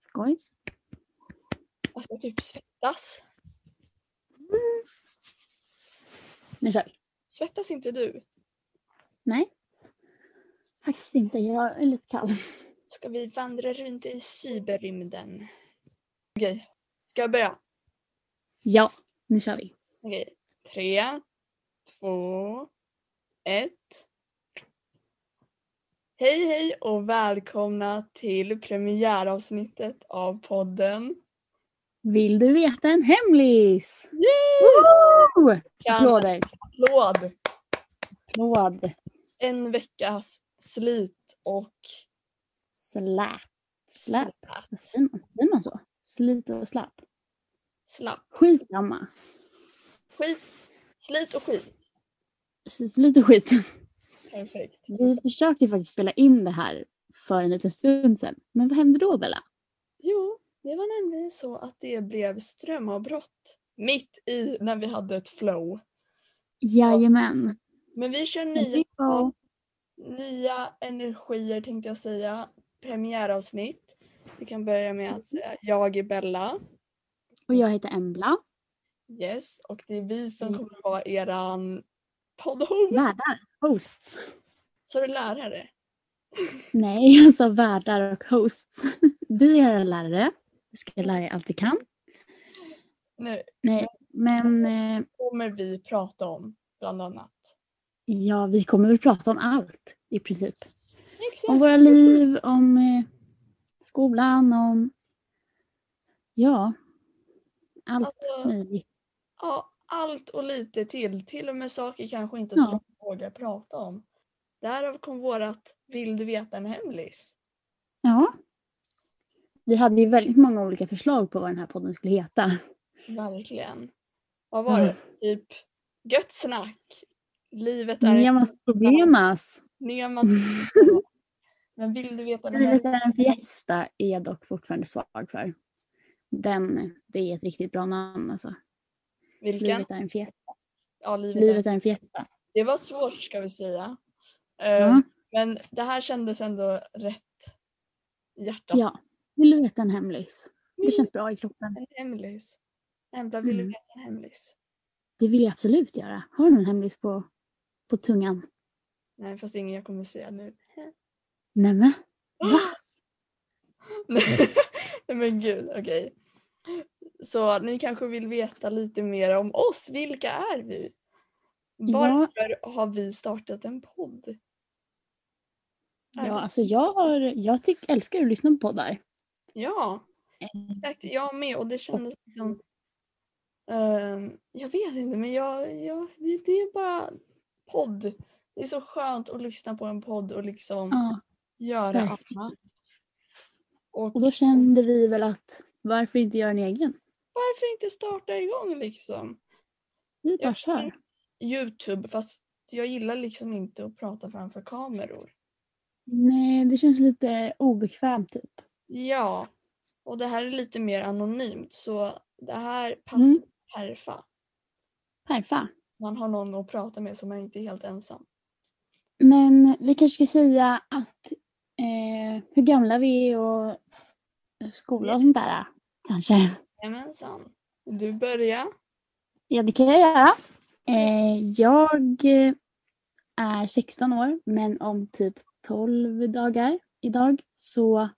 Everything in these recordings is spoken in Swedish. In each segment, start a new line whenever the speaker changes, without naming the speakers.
Skoj.
Alltså jag typ svettas.
Nu kör vi.
Svettas inte du?
Nej. Faktiskt inte. Jag är lite kall.
Ska vi vandra runt i cyberrymden? Okej, ska jag börja?
Ja, nu kör vi.
Okej, tre, två, ett. Hej hej och välkomna till premiäravsnittet av podden.
Vill du veta en hemlis? Woo!
Kan
Applåder.
applåd!
Applåd.
En veckas slit och
Släp.
slapp.
Släp. Vad säger man? Säger man så? Slit och släp.
slapp.
Skitsamma.
Skit. Slit och skit.
Slit och skit.
Perfekt.
Vi försökte ju faktiskt spela in det här för en liten stund sedan. Men vad hände då Bella?
Jo, det var nämligen så att det blev strömavbrott mitt i när vi hade ett flow.
Jajamän.
Men vi kör
Men
nya,
det var- Mhm.
nya energier tänkte jag säga. Premiäravsnitt. Vi kan börja med att
Mhm.
säga jag är Bella.
Och jag heter Embla.
Yes, och det är vi som
Mm.
kommer att vara eran poddhost.
Värdar. Hosts.
Så du lärare?
Nej, jag sa värdar och hosts. Vi är lärare. Vi ska lära er allt vi kan.
Nu
Nej, men eh,
kommer vi prata om bland annat.
ja, vi kommer väl prata om allt i princip. Om
Exakt.
våra liv, om eh, skolan, om ja, allt
Alltså,
möjligt.
ja, allt och lite till. Till och med saker kanske inte
Ja.
så många vågar prata om. Därav kom vårat Vill du veta en hemlis?
Ja. Vi hade ju väldigt många olika förslag på vad den här podden skulle heta.
Verkligen. Vad var det? Typ gött snack. Livet är en
Nemas problemas.
Nemas. Men vill du veta en hemlis?
Livet är en fiesta är jag dock fortfarande svag för. Den, det är ett riktigt bra namn alltså.
Vilken?
Livet är en fiesta.
Ja, livet. är-
Livet är en fiesta.
Det var svårt ska vi säga. Eh,
Ja.
Men det här kändes ändå rätt i hjärtat.
ja. Vill du veta en hemlis? Det känns bra i kroppen.
En hemlis. Embla, vill du
Mm.
veta en hemlis?
Det vill jag absolut göra. Har du någon hemlis på, på tungan?
Nej, fast det är ingen jag kommer säga nu.
Nämen. Va?
Nej men gud, okej. Så ni kanske vill veta lite mer om oss. Vilka är vi? Varför har vi startat en podd?
Ja, alltså jag, har, jag tyck, älskar att lyssna på
Mm.
poddar.
Ja, exakt. Jag med och det kändes liksom... ehm, jag vet inte men jag, jag, det, det är bara podd. Det är så skönt att lyssna på en podd och liksom
Ja,
göra
verkligen.
annat. Och
Och då kände vi väl att varför inte göra en egen?
varför inte starta igång liksom?
Vi bara
Jag
kör.
tror- Youtube fast jag gillar liksom inte att prata framför kameror.
Nej, det känns lite obekvämt typ.
Ja, och det här är lite mer anonymt så det här passar
Mm.
perfa.
Perfa.
Man har någon att prata med som är inte är helt ensam.
Men vi kanske ska säga att eh, hur gamla vi är och skola och sånt där. Kanske.
Jajamensan. Du börjar.
Ja, det kan jag göra. Eh, jag eh, är 16 år, men om typ 12 dagar idag så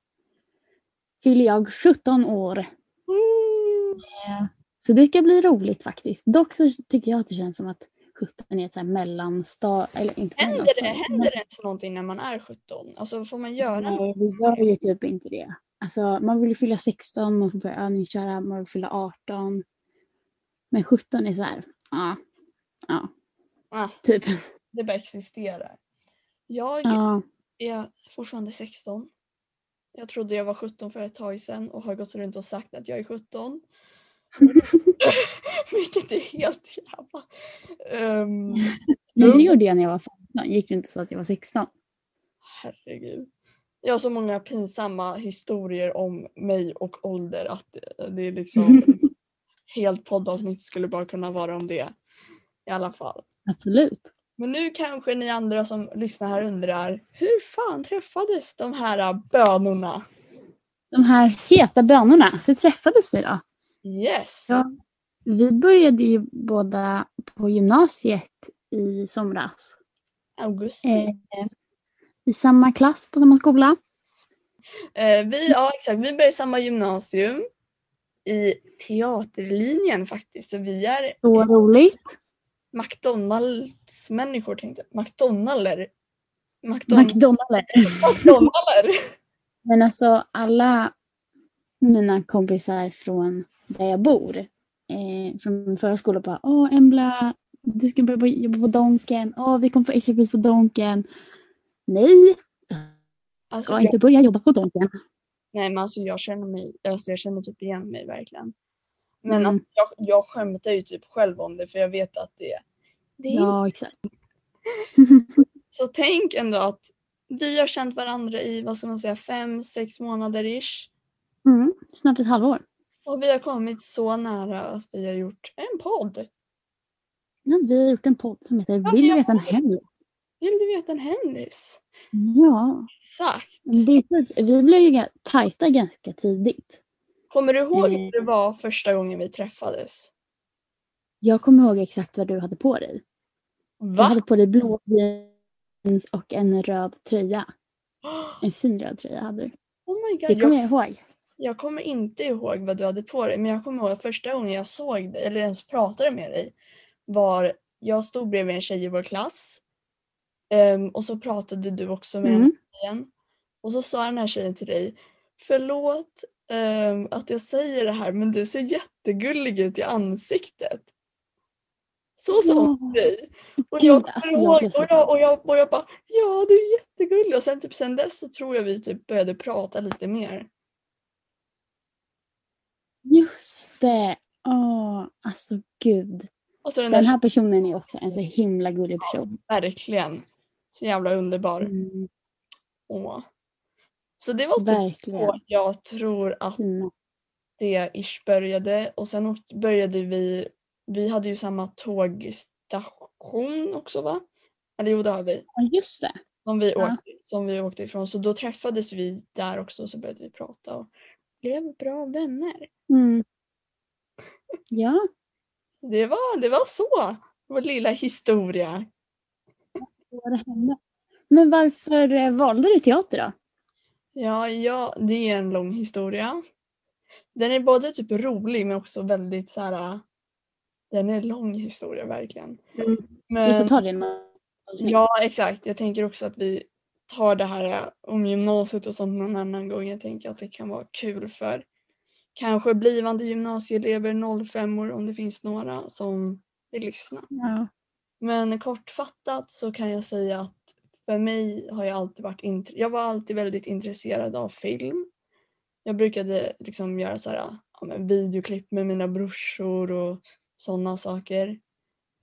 fyller jag 17 år. Eh, Så det ska bli roligt faktiskt. Dock så tycker jag att det känns som att 17 är ett så här mellanstad... Eller inte
Händer det,
mellanstad,
händer det ens någonting när man är 17? Alltså får man göra
men- Nej,
något?
vi gör ju typ inte det. Alltså, man vill ju fylla 16, man får börja övningsköra, man vill fylla 18. Men 17 är så här, ja,
Ah,
typ.
det bara existerar. Jag
Ja.
är fortfarande 16. Jag trodde jag var 17 för ett tag sedan och har gått runt och sagt att jag är 17. Vilket är helt jävla... Um,
Men det gjorde jag när jag var 15. Gick det inte så att jag var 16?
Herregud. Jag har så många pinsamma historier om mig och ålder att det är liksom... Helt poddavsnitt skulle bara kunna vara om det. I alla fall.
Absolut.
Men nu kanske ni andra som lyssnar här undrar hur fan träffades de här äh, bönorna?
De här heta bönorna, hur träffades vi då?
Yes!
Ja. Vi började ju båda på gymnasiet i somras.
Augusti.
Eh, I samma klass på samma skola.
Eh, vi, ja, exakt. vi börjar i samma gymnasium i teaterlinjen faktiskt. Så vi är
Så roligt.
McDonalds-människor tänkte jag. McDonalder. McDonalder.
McDonalds.
McDonalder.
Men alltså alla mina kompisar från där jag bor, eh, från min förra skolan bara Åh Embla, du ska börja jobba på Donken. Åh, vi kommer få extra pris på Donken. Nej, jag
Alltså,
ska inte börja jobba på Donken.
Nej men alltså jag känner mig, alltså jag känner typ igen mig verkligen. Men
Mm.
alltså, jag, jag skämtar ju typ själv om det för jag vet att det, det är
Ja, exakt.
Så tänk ändå att vi har känt varandra i vad ska man säga, fem, sex månader ish.
Mm, snart ett halvår.
Och vi har kommit så nära att vi har gjort en podd.
Ja, vi har gjort en podd som heter
Ja,
Vill
jag-
veta en hemlis.
Vill du veta en hemlis?
Ja,
Exakt.
det är, sjukt. vi blev ju ga- tajta ganska tidigt.
Kommer du ihåg
Mm.
hur det var första gången vi träffades?
Jag kommer ihåg exakt vad du hade på dig. Du
Va?
hade på dig blå jeans och en röd tröja. En fin röd tröja hade du.
Oh my god.
Det
Jag,
kommer jag ihåg.
jag kommer inte ihåg vad du hade på dig men jag kommer ihåg att första gången jag såg dig eller ens pratade med dig var jag stod bredvid en tjej i vår klass ehm, och så pratade du också med en
Mm.
igen. Och så sa den här tjejen till dig, förlåt ehm, att jag säger det här men du ser jättegullig ut i ansiktet. Så sa hon till dig. Och
Gud,
jag kommer
alltså, jag
ihåg
blev så
och jag, och, jag, och jag bara, ja du är jättegullig. Och sen typ sen dess så tror jag vi typ började prata lite mer.
Just det! Åh, alltså gud.
Alltså den,
Den
här
här personen är också en så himla gullig person.
verkligen så jävla underbar.
Mm,
Åh. Så det var typ så
verkligen.
jag tror att
Fina.
det ish började och sen åkte- började vi, vi hade ju samma tågstation också va? Eller jo det har vi,
Ja, just det.
som vi,
Ja.
åkte, som vi åkte ifrån. Så då träffades vi där också och så började vi prata och blev bra vänner.
Mm. Ja,
Det var, det var så, vår lilla historia.
vad det hände. Men varför eh, valde du teater då?
Ja, ja, det är en lång historia. Den är både typ rolig men också väldigt så här. äh, Den är en lång historia verkligen.
Mm. Vi
Men,
får ta det i något avsnitt.
Eh, Ja, exakt. Jag tänker också att vi tar det här eh, om gymnasiet och sånt någon annan gång. Jag tänker att det kan vara kul för kanske blivande gymnasieelever, 05 om det finns några som vill lyssna.
Ja.
Men kortfattat så kan jag säga att för mig har jag alltid varit int- jag var alltid väldigt intresserad av film. Jag brukade liksom göra så här, ja, men videoklipp med mina brorsor och sådana saker.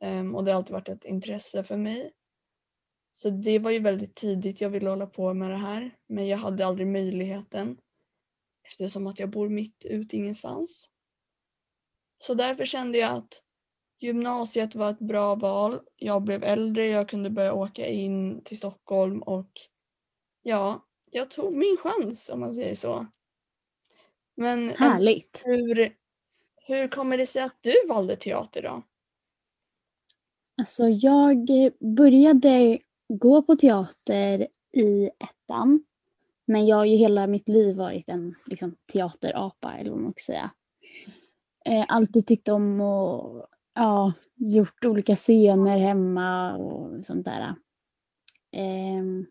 Ehm, och det har alltid varit ett intresse för mig. Så det var ju väldigt tidigt jag ville hålla på med det här men jag hade aldrig möjligheten eftersom att jag bor mitt ute ingenstans. Så därför kände jag att gymnasiet var ett bra val. Jag blev äldre, jag kunde börja åka in till Stockholm och ja, jag tog min chans om man säger så. Men Emma,
Härligt.
hur, hur kommer det sig att du valde teater då?
Alltså jag började gå på teater i ettan. Men jag har ju hela mitt liv varit en liksom, teaterapa eller vad man ska säga. Eh, alltid tyckt om och ja, gjort olika scener hemma och sånt där. Ehm.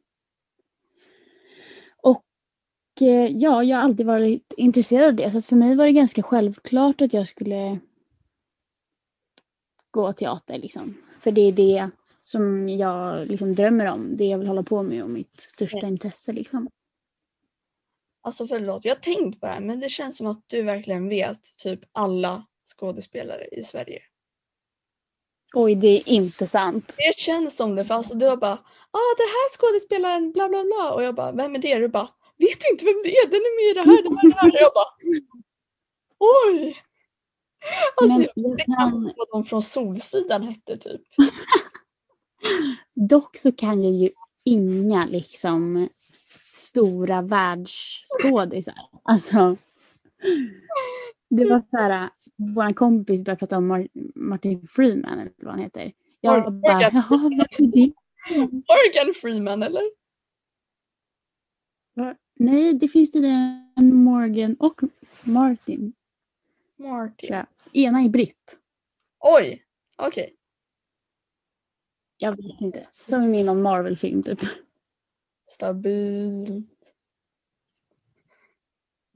och eh, ja, jag har alltid varit intresserad av det. Så att för mig var det ganska självklart att jag skulle gå teater. Liksom. För det är det som jag liksom drömmer om, det jag vill hålla på med och mitt största intresse. Liksom.
Alltså förlåt, jag har tänkt på det här men det känns som att du verkligen vet typ alla skådespelare i Sverige.
Oj, det är inte sant.
Det känns som det för alltså du har bara ah det här skådespelaren bla bla bla och jag bara vem är det? Du bara vet du inte vem det är? Den är med i det här, det här, det här. Och jag bara oj! Alltså
Men
jag vet
jag kan,
knappt vad de från Solsidan hette typ.
dock så kan jag ju inga liksom, stora världsskådisar. Alltså, det var så här, vår kompis började prata om Mar- Martin Freeman eller vad han heter. Jag
Morgan.
bara, jaha, vad är det?
Morgan Freeman eller?
Nej, det finns tydligen en Morgan och Martin.
Martin.
Ja. Ena är britt.
Oj! Okej.
Jag vet inte. Som i min någon Marvel-film typ.
Stabil.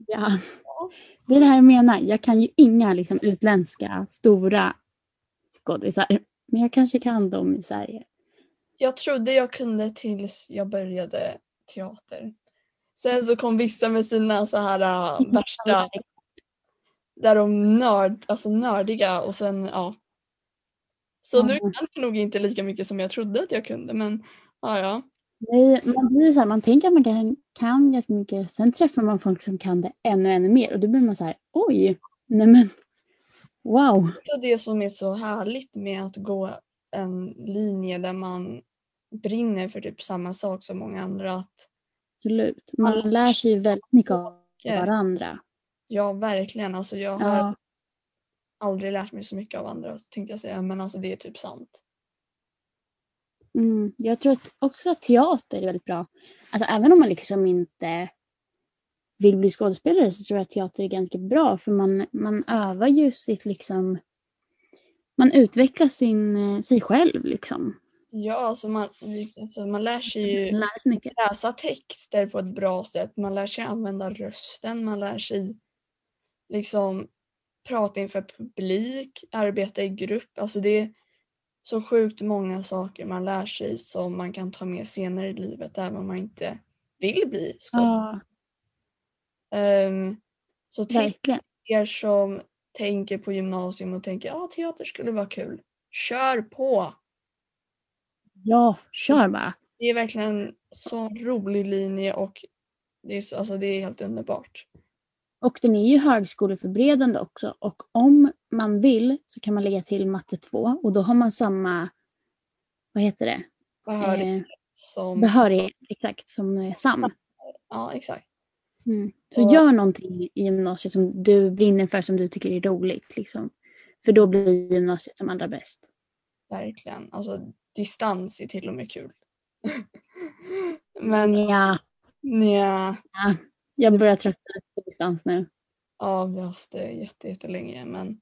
Ja. Det är det här jag menar. Jag kan ju inga liksom, utländska stora skådisar. Men jag kanske kan dem i Sverige.
Jag trodde jag kunde tills jag började teater. Sen så kom vissa med sina så här äh, värsta, där de nörd, alltså nördiga och sen ja. Så nu
Mm.
kan jag nog inte lika mycket som jag trodde att jag kunde men ja ja.
Nej, man, blir så här, man tänker att man kan, kan ganska mycket. Sen träffar man folk som kan det ännu, ännu mer. Och då blir man så här, oj, nej men wow.
Det är det som är så härligt med att gå en linje där man brinner för typ samma sak som många andra. Att,
Absolut. Man
Alla-
lär sig ju väldigt mycket av
Ja.
varandra.
ja verkligen alltså jag har
Ja,
aldrig lärt mig så mycket av andra tänkte jag säga men alltså det är typ sant.
mm. Jag tror att också att teater är väldigt bra. Alltså även om man liksom inte vill bli skådespelare så tror jag att teater är ganska bra för man, man övar ju sitt liksom... Man utvecklar sin, eh, sig själv liksom.
Ja, alltså man, alltså man lär sig
Man
ju
lär sig mycket.
läsa texter på ett bra sätt. Man lär sig använda rösten, man lär sig liksom prata inför publik, arbeta i grupp. Alltså det är så sjukt många saker man lär sig som man kan ta med senare i livet även om man inte vill bli skådespelare.
Ja,
Ehm, så till
verkligen.
er som tänker på gymnasium och tänker ja, teater skulle vara kul. Kör på!
Ja, kör bara.
Det är verkligen en sån rolig linje och det är, så, alltså det är helt underbart.
Och den är ju högskoleförberedande också och om man vill så kan man lägga till matte 2 och då har man samma, vad heter det,
Behörighet
eh,
som...
behörighet exakt som eh, SAM.
Ja, exakt.
Mm. Så
Och-
gör någonting i gymnasiet som du brinner för, som du tycker är roligt. Liksom. För då blir gymnasiet som allra bäst.
Verkligen. Alltså distans är till och med kul. Men
Ja,
nja,
jag börjar tröttna på distans nu.
ja, vi har haft det jätte- jättelänge men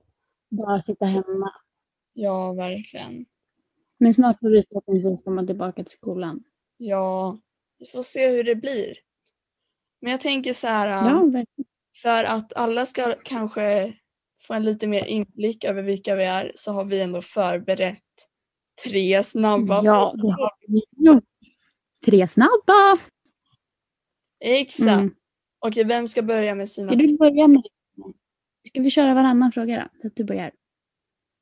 Bara sitta hemma.
ja, verkligen.
Men snart får vi förhoppningsvis komma tillbaka till skolan.
Ja, vi får se hur det blir. Men jag tänker så här,
Ja, verkligen.
för att alla ska kanske få en lite mer inblick över vilka vi är så har vi ändå förberett tre snabba
ja det har vi gjort. Tre snabba!
Exakt.
Mm.
Okej, vem ska börja med sina?
Ska du börja med Ska vi köra varannan fråga då? Så att du börjar.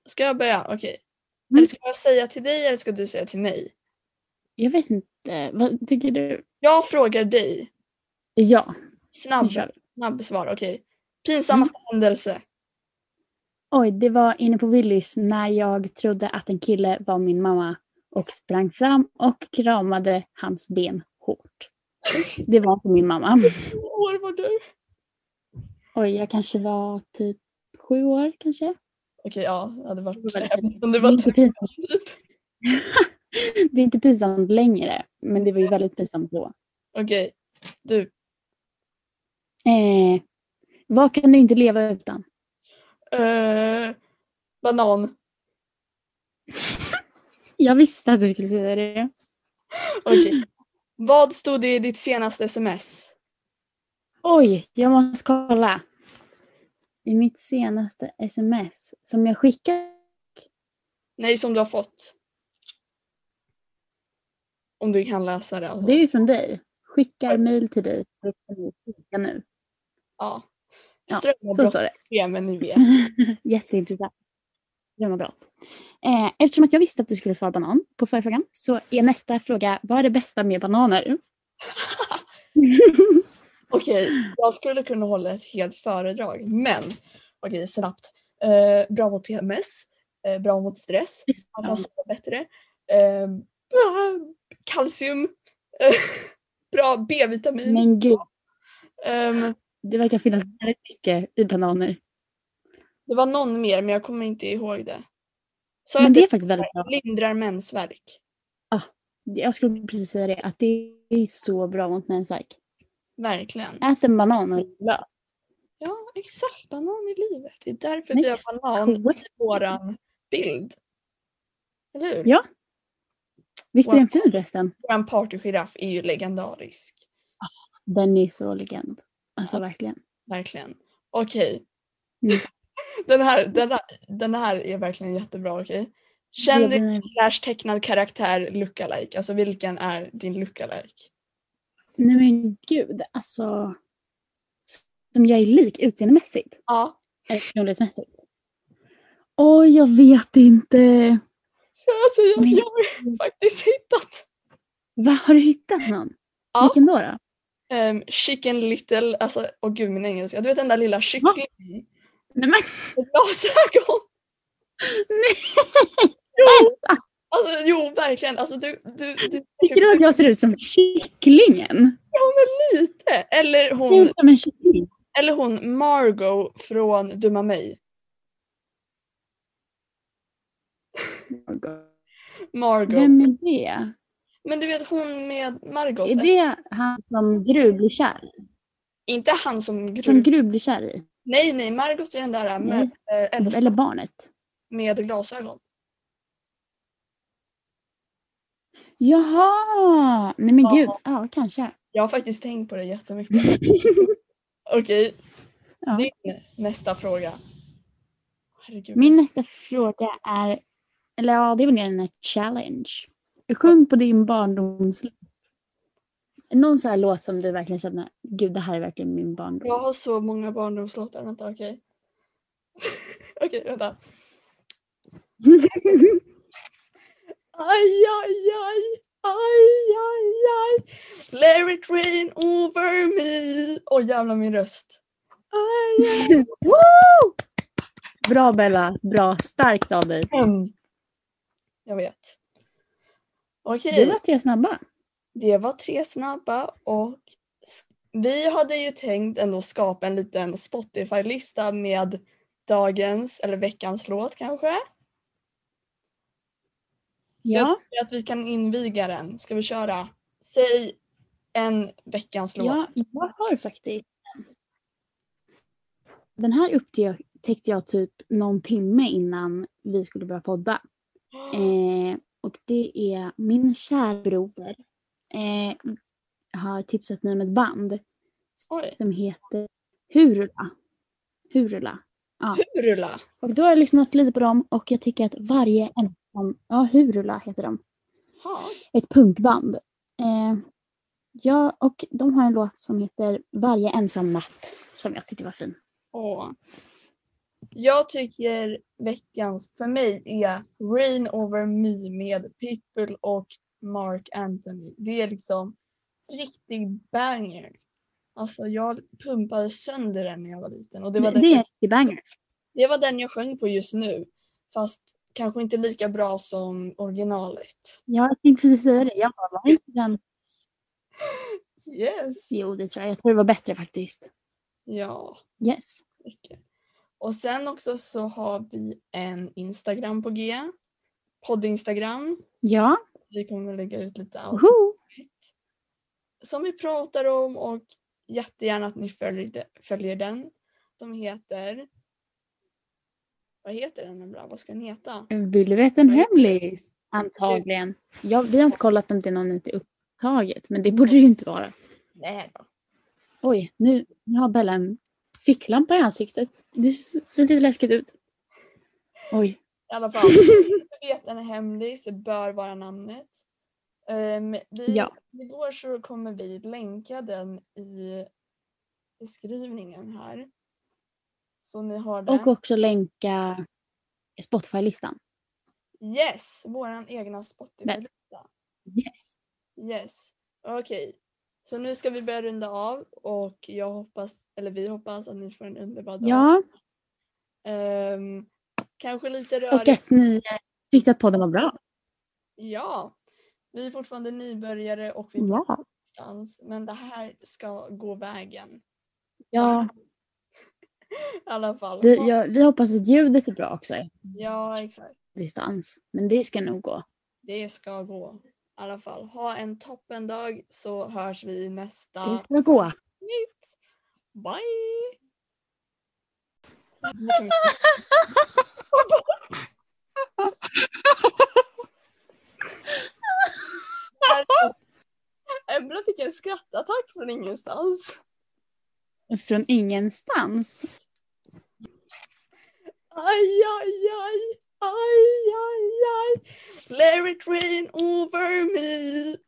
Ska jag börja? Okej.
Mm.
Eller ska jag säga till dig eller ska du säga till mig?
Jag vet inte, vad tycker du?
Jag frågar dig.
Ja, Mm. nu
Snabb,
kör vi.
snabb svar, okej. Pinsammaste händelse.
Oj, det var inne på Willys när jag trodde att en kille var min mamma och sprang fram och kramade hans ben hårt. Det var inte min mamma.
Hur år var du? Okej,
Oj, jag kanske var typ sju år kanske.
ja, det hade
Det
varit
var väldigt Mm.
hemskt om
Det
du
är,
var
inte
typ.
pinsamt. det är inte pinsamt längre, men det var ju väldigt pinsamt då.
Okej, du.
Eh, vad kan du inte leva utan?
Eh, banan.
Jag visste att du skulle säga det.
Okej. Vad stod det i ditt senaste sms?
Oj, jag måste kolla. I mitt senaste sms som jag skickade.
Nej, som du har fått. Om du kan läsa det. Alltså.
Det är ju från dig. Skickar mejl till dig. Skicka nu.
Ja.
Ja, Så
Strömavbrott
står det.
Ja, men ni vet.
Jätteintressant. Drömavbrott. Eh, eftersom att jag visste att du skulle svara banan på förra frågan så är nästa fråga, vad är det bästa med bananer?
Okej, jag skulle kunna hålla ett helt föredrag men okej snabbt. Eh, bra mot PMS, eh, bra mot stress, man kan sova bättre, Ehm, eh, ah, kalcium, eh, bra B-vitamin.
Men gud,
Ehm,
det verkar finnas väldigt mycket i bananer.
det var någon mer men jag kommer inte ihåg det. Så
Men
att
det är
det
faktiskt väldigt bra.
lindrar mensvärk.
Jag skulle precis säga det, att det är så bra mot mensvärk.
Verkligen.
Ät en banan och lök.
Ja, exakt. Banan i livet. Det är därför vi
Next
har banan i
question.
våran bild. Eller hur?
Ja. Visst är den fin resten?
Våran partygiraff är ju legendarisk.
Den är så legend. Alltså verkligen.
Verkligen. Okej.
Mm.
Den, här, den, här, den här är verkligen jättebra. Okej. Kändis
Greven är-
slash tecknad karaktär lookalike. Alltså vilken är din lookalike?
Nej men gud, alltså. Som jag är lik utseendemässigt.
Ja.
Eller personlighetsmässigt. Oj, jag vet inte.
Ska alltså, jag säga?
Men-
Jag har faktiskt hittat.
Va, har du hittat någon?
Ja.
Vilken då? då?
Ehm, chicken little, alltså åh gud min engelska. Du vet den där lilla kycklingen
Nej men
med glasögon.
nej!
Alltså jo verkligen. Alltså du, du, du
Tycker du att jag ser ut som kycklingen?
lite. Eller
Jag ser
hon,
ut som en kyckling.
eller hon Margot från Dumma mig. Margot.
Vem är det?
Men du vet hon med Margot.
Är det han som Gru blir kär i?
Inte han som grym.
Som Gru blir kär i?
Nej nej, Margot är den där med, eh, äldsta
Eller barnet?
med glasögon.
Jaha! Nej men
Ja.
gud, ja kanske.
Jag har faktiskt tänkt på det jättemycket. Okej,
Ja.
din nästa fråga. Herregud.
Min nästa fråga är, eller ja det är väl mer en challenge. Sjung på din barndomslåt. Någon sån här låt som du verkligen känner, gud det här är verkligen min barndom.
Jag har så många barndomslåtar. Vänta, okej. okej, vänta. Aj, aj, aj, aj, aj, aj. Let it rain over me. Åh jävlar min röst. Aj, aj.
Woo! Bra Bella, bra, starkt av dig.
Jag vet.
Du
Okej.
var tre snabba.
Det var tre snabba och s- vi hade ju tänkt ändå skapa en liten Spotify-lista med dagens eller veckans låt kanske. Så jag
Ja.
tycker att vi kan inviga den. Ska vi köra? Säg en veckans låt.
Ja, jag har faktiskt den här upptäckte jag typ någon timme innan vi skulle börja podda. Eh, och det är min kära broder eh, har tipsat mig om ett band
Oj,
som heter Hurula. Hurula.
Hurula.
Och då har jag lyssnat lite på dem och jag tycker att varje ensam, ja Hurula heter de,
Ja,
ett punkband. Eh, ja, och de har en låt som heter Varje ensam natt som jag tyckte var fin.
åh. Jag tycker veckans för mig är Rain Over Me med Pitbull och Mark Anthony. Det är liksom riktig banger. Alltså jag pumpade sönder den när jag var liten och det
Det,
var,
det,
den,
är en riktig banger.
det var den jag sjöng på just nu. Fast kanske inte lika bra som originalet.
Ja, jag tänkte precis säga det. Jag bara, var inte den?
Yes!
Jo, det tror jag. Jag tror det var bättre faktiskt.
Ja.
Yes.
mycket. Och sen också så har vi en Instagram på G. Podd-Instagram.
Ja,
Vi kommer att lägga ut lite allt
woho!
som vi pratar om och jättegärna att ni följer, de- följer den. Som heter... Vad heter den? Embla? Vad ska den heta?
Vill du veta en
Nej.
hemlis? Antagligen. Ja, vi har inte kollat om det är någon inte upptaget, men det borde det ju inte vara.
Nej då.
Oj, nu, nu har Bella en ficklampa i ansiktet. Det s- ser lite läskigt ut. Oj.
I alla fall, jag vet den är hemlig så bör vara namnet. Ehm, vi,
Ja.
Igår så kommer vi länka den i beskrivningen här. Så ni har den.
Och också länka Spotify-listan.
Yes, våran egna Spotify.
Yes.
Yes, okej. Så nu ska vi börja runda av och jag hoppas, eller vi hoppas att ni får en underbar dag.
Ja,
Ehm, kanske lite
och
rörigt.
att ni eh, tyckte att podden var bra.
Ja, vi är fortfarande nybörjare och vi
Ja.
någonstans men det här ska gå vägen.
Ja,
I alla fall.
vi, ja, vi hoppas att ljudet är bra också i
Ja, exakt.
distans. Men det ska nog gå.
Det ska gå. I alla fall. Ha en toppendag så hörs vi i nästa
Det ska gå.
avsnitt. Bye! Embla fick en skrattattack från ingenstans.
Från ingenstans.
Aj, aj, aj, aj, aj, aj. Let it rain over me.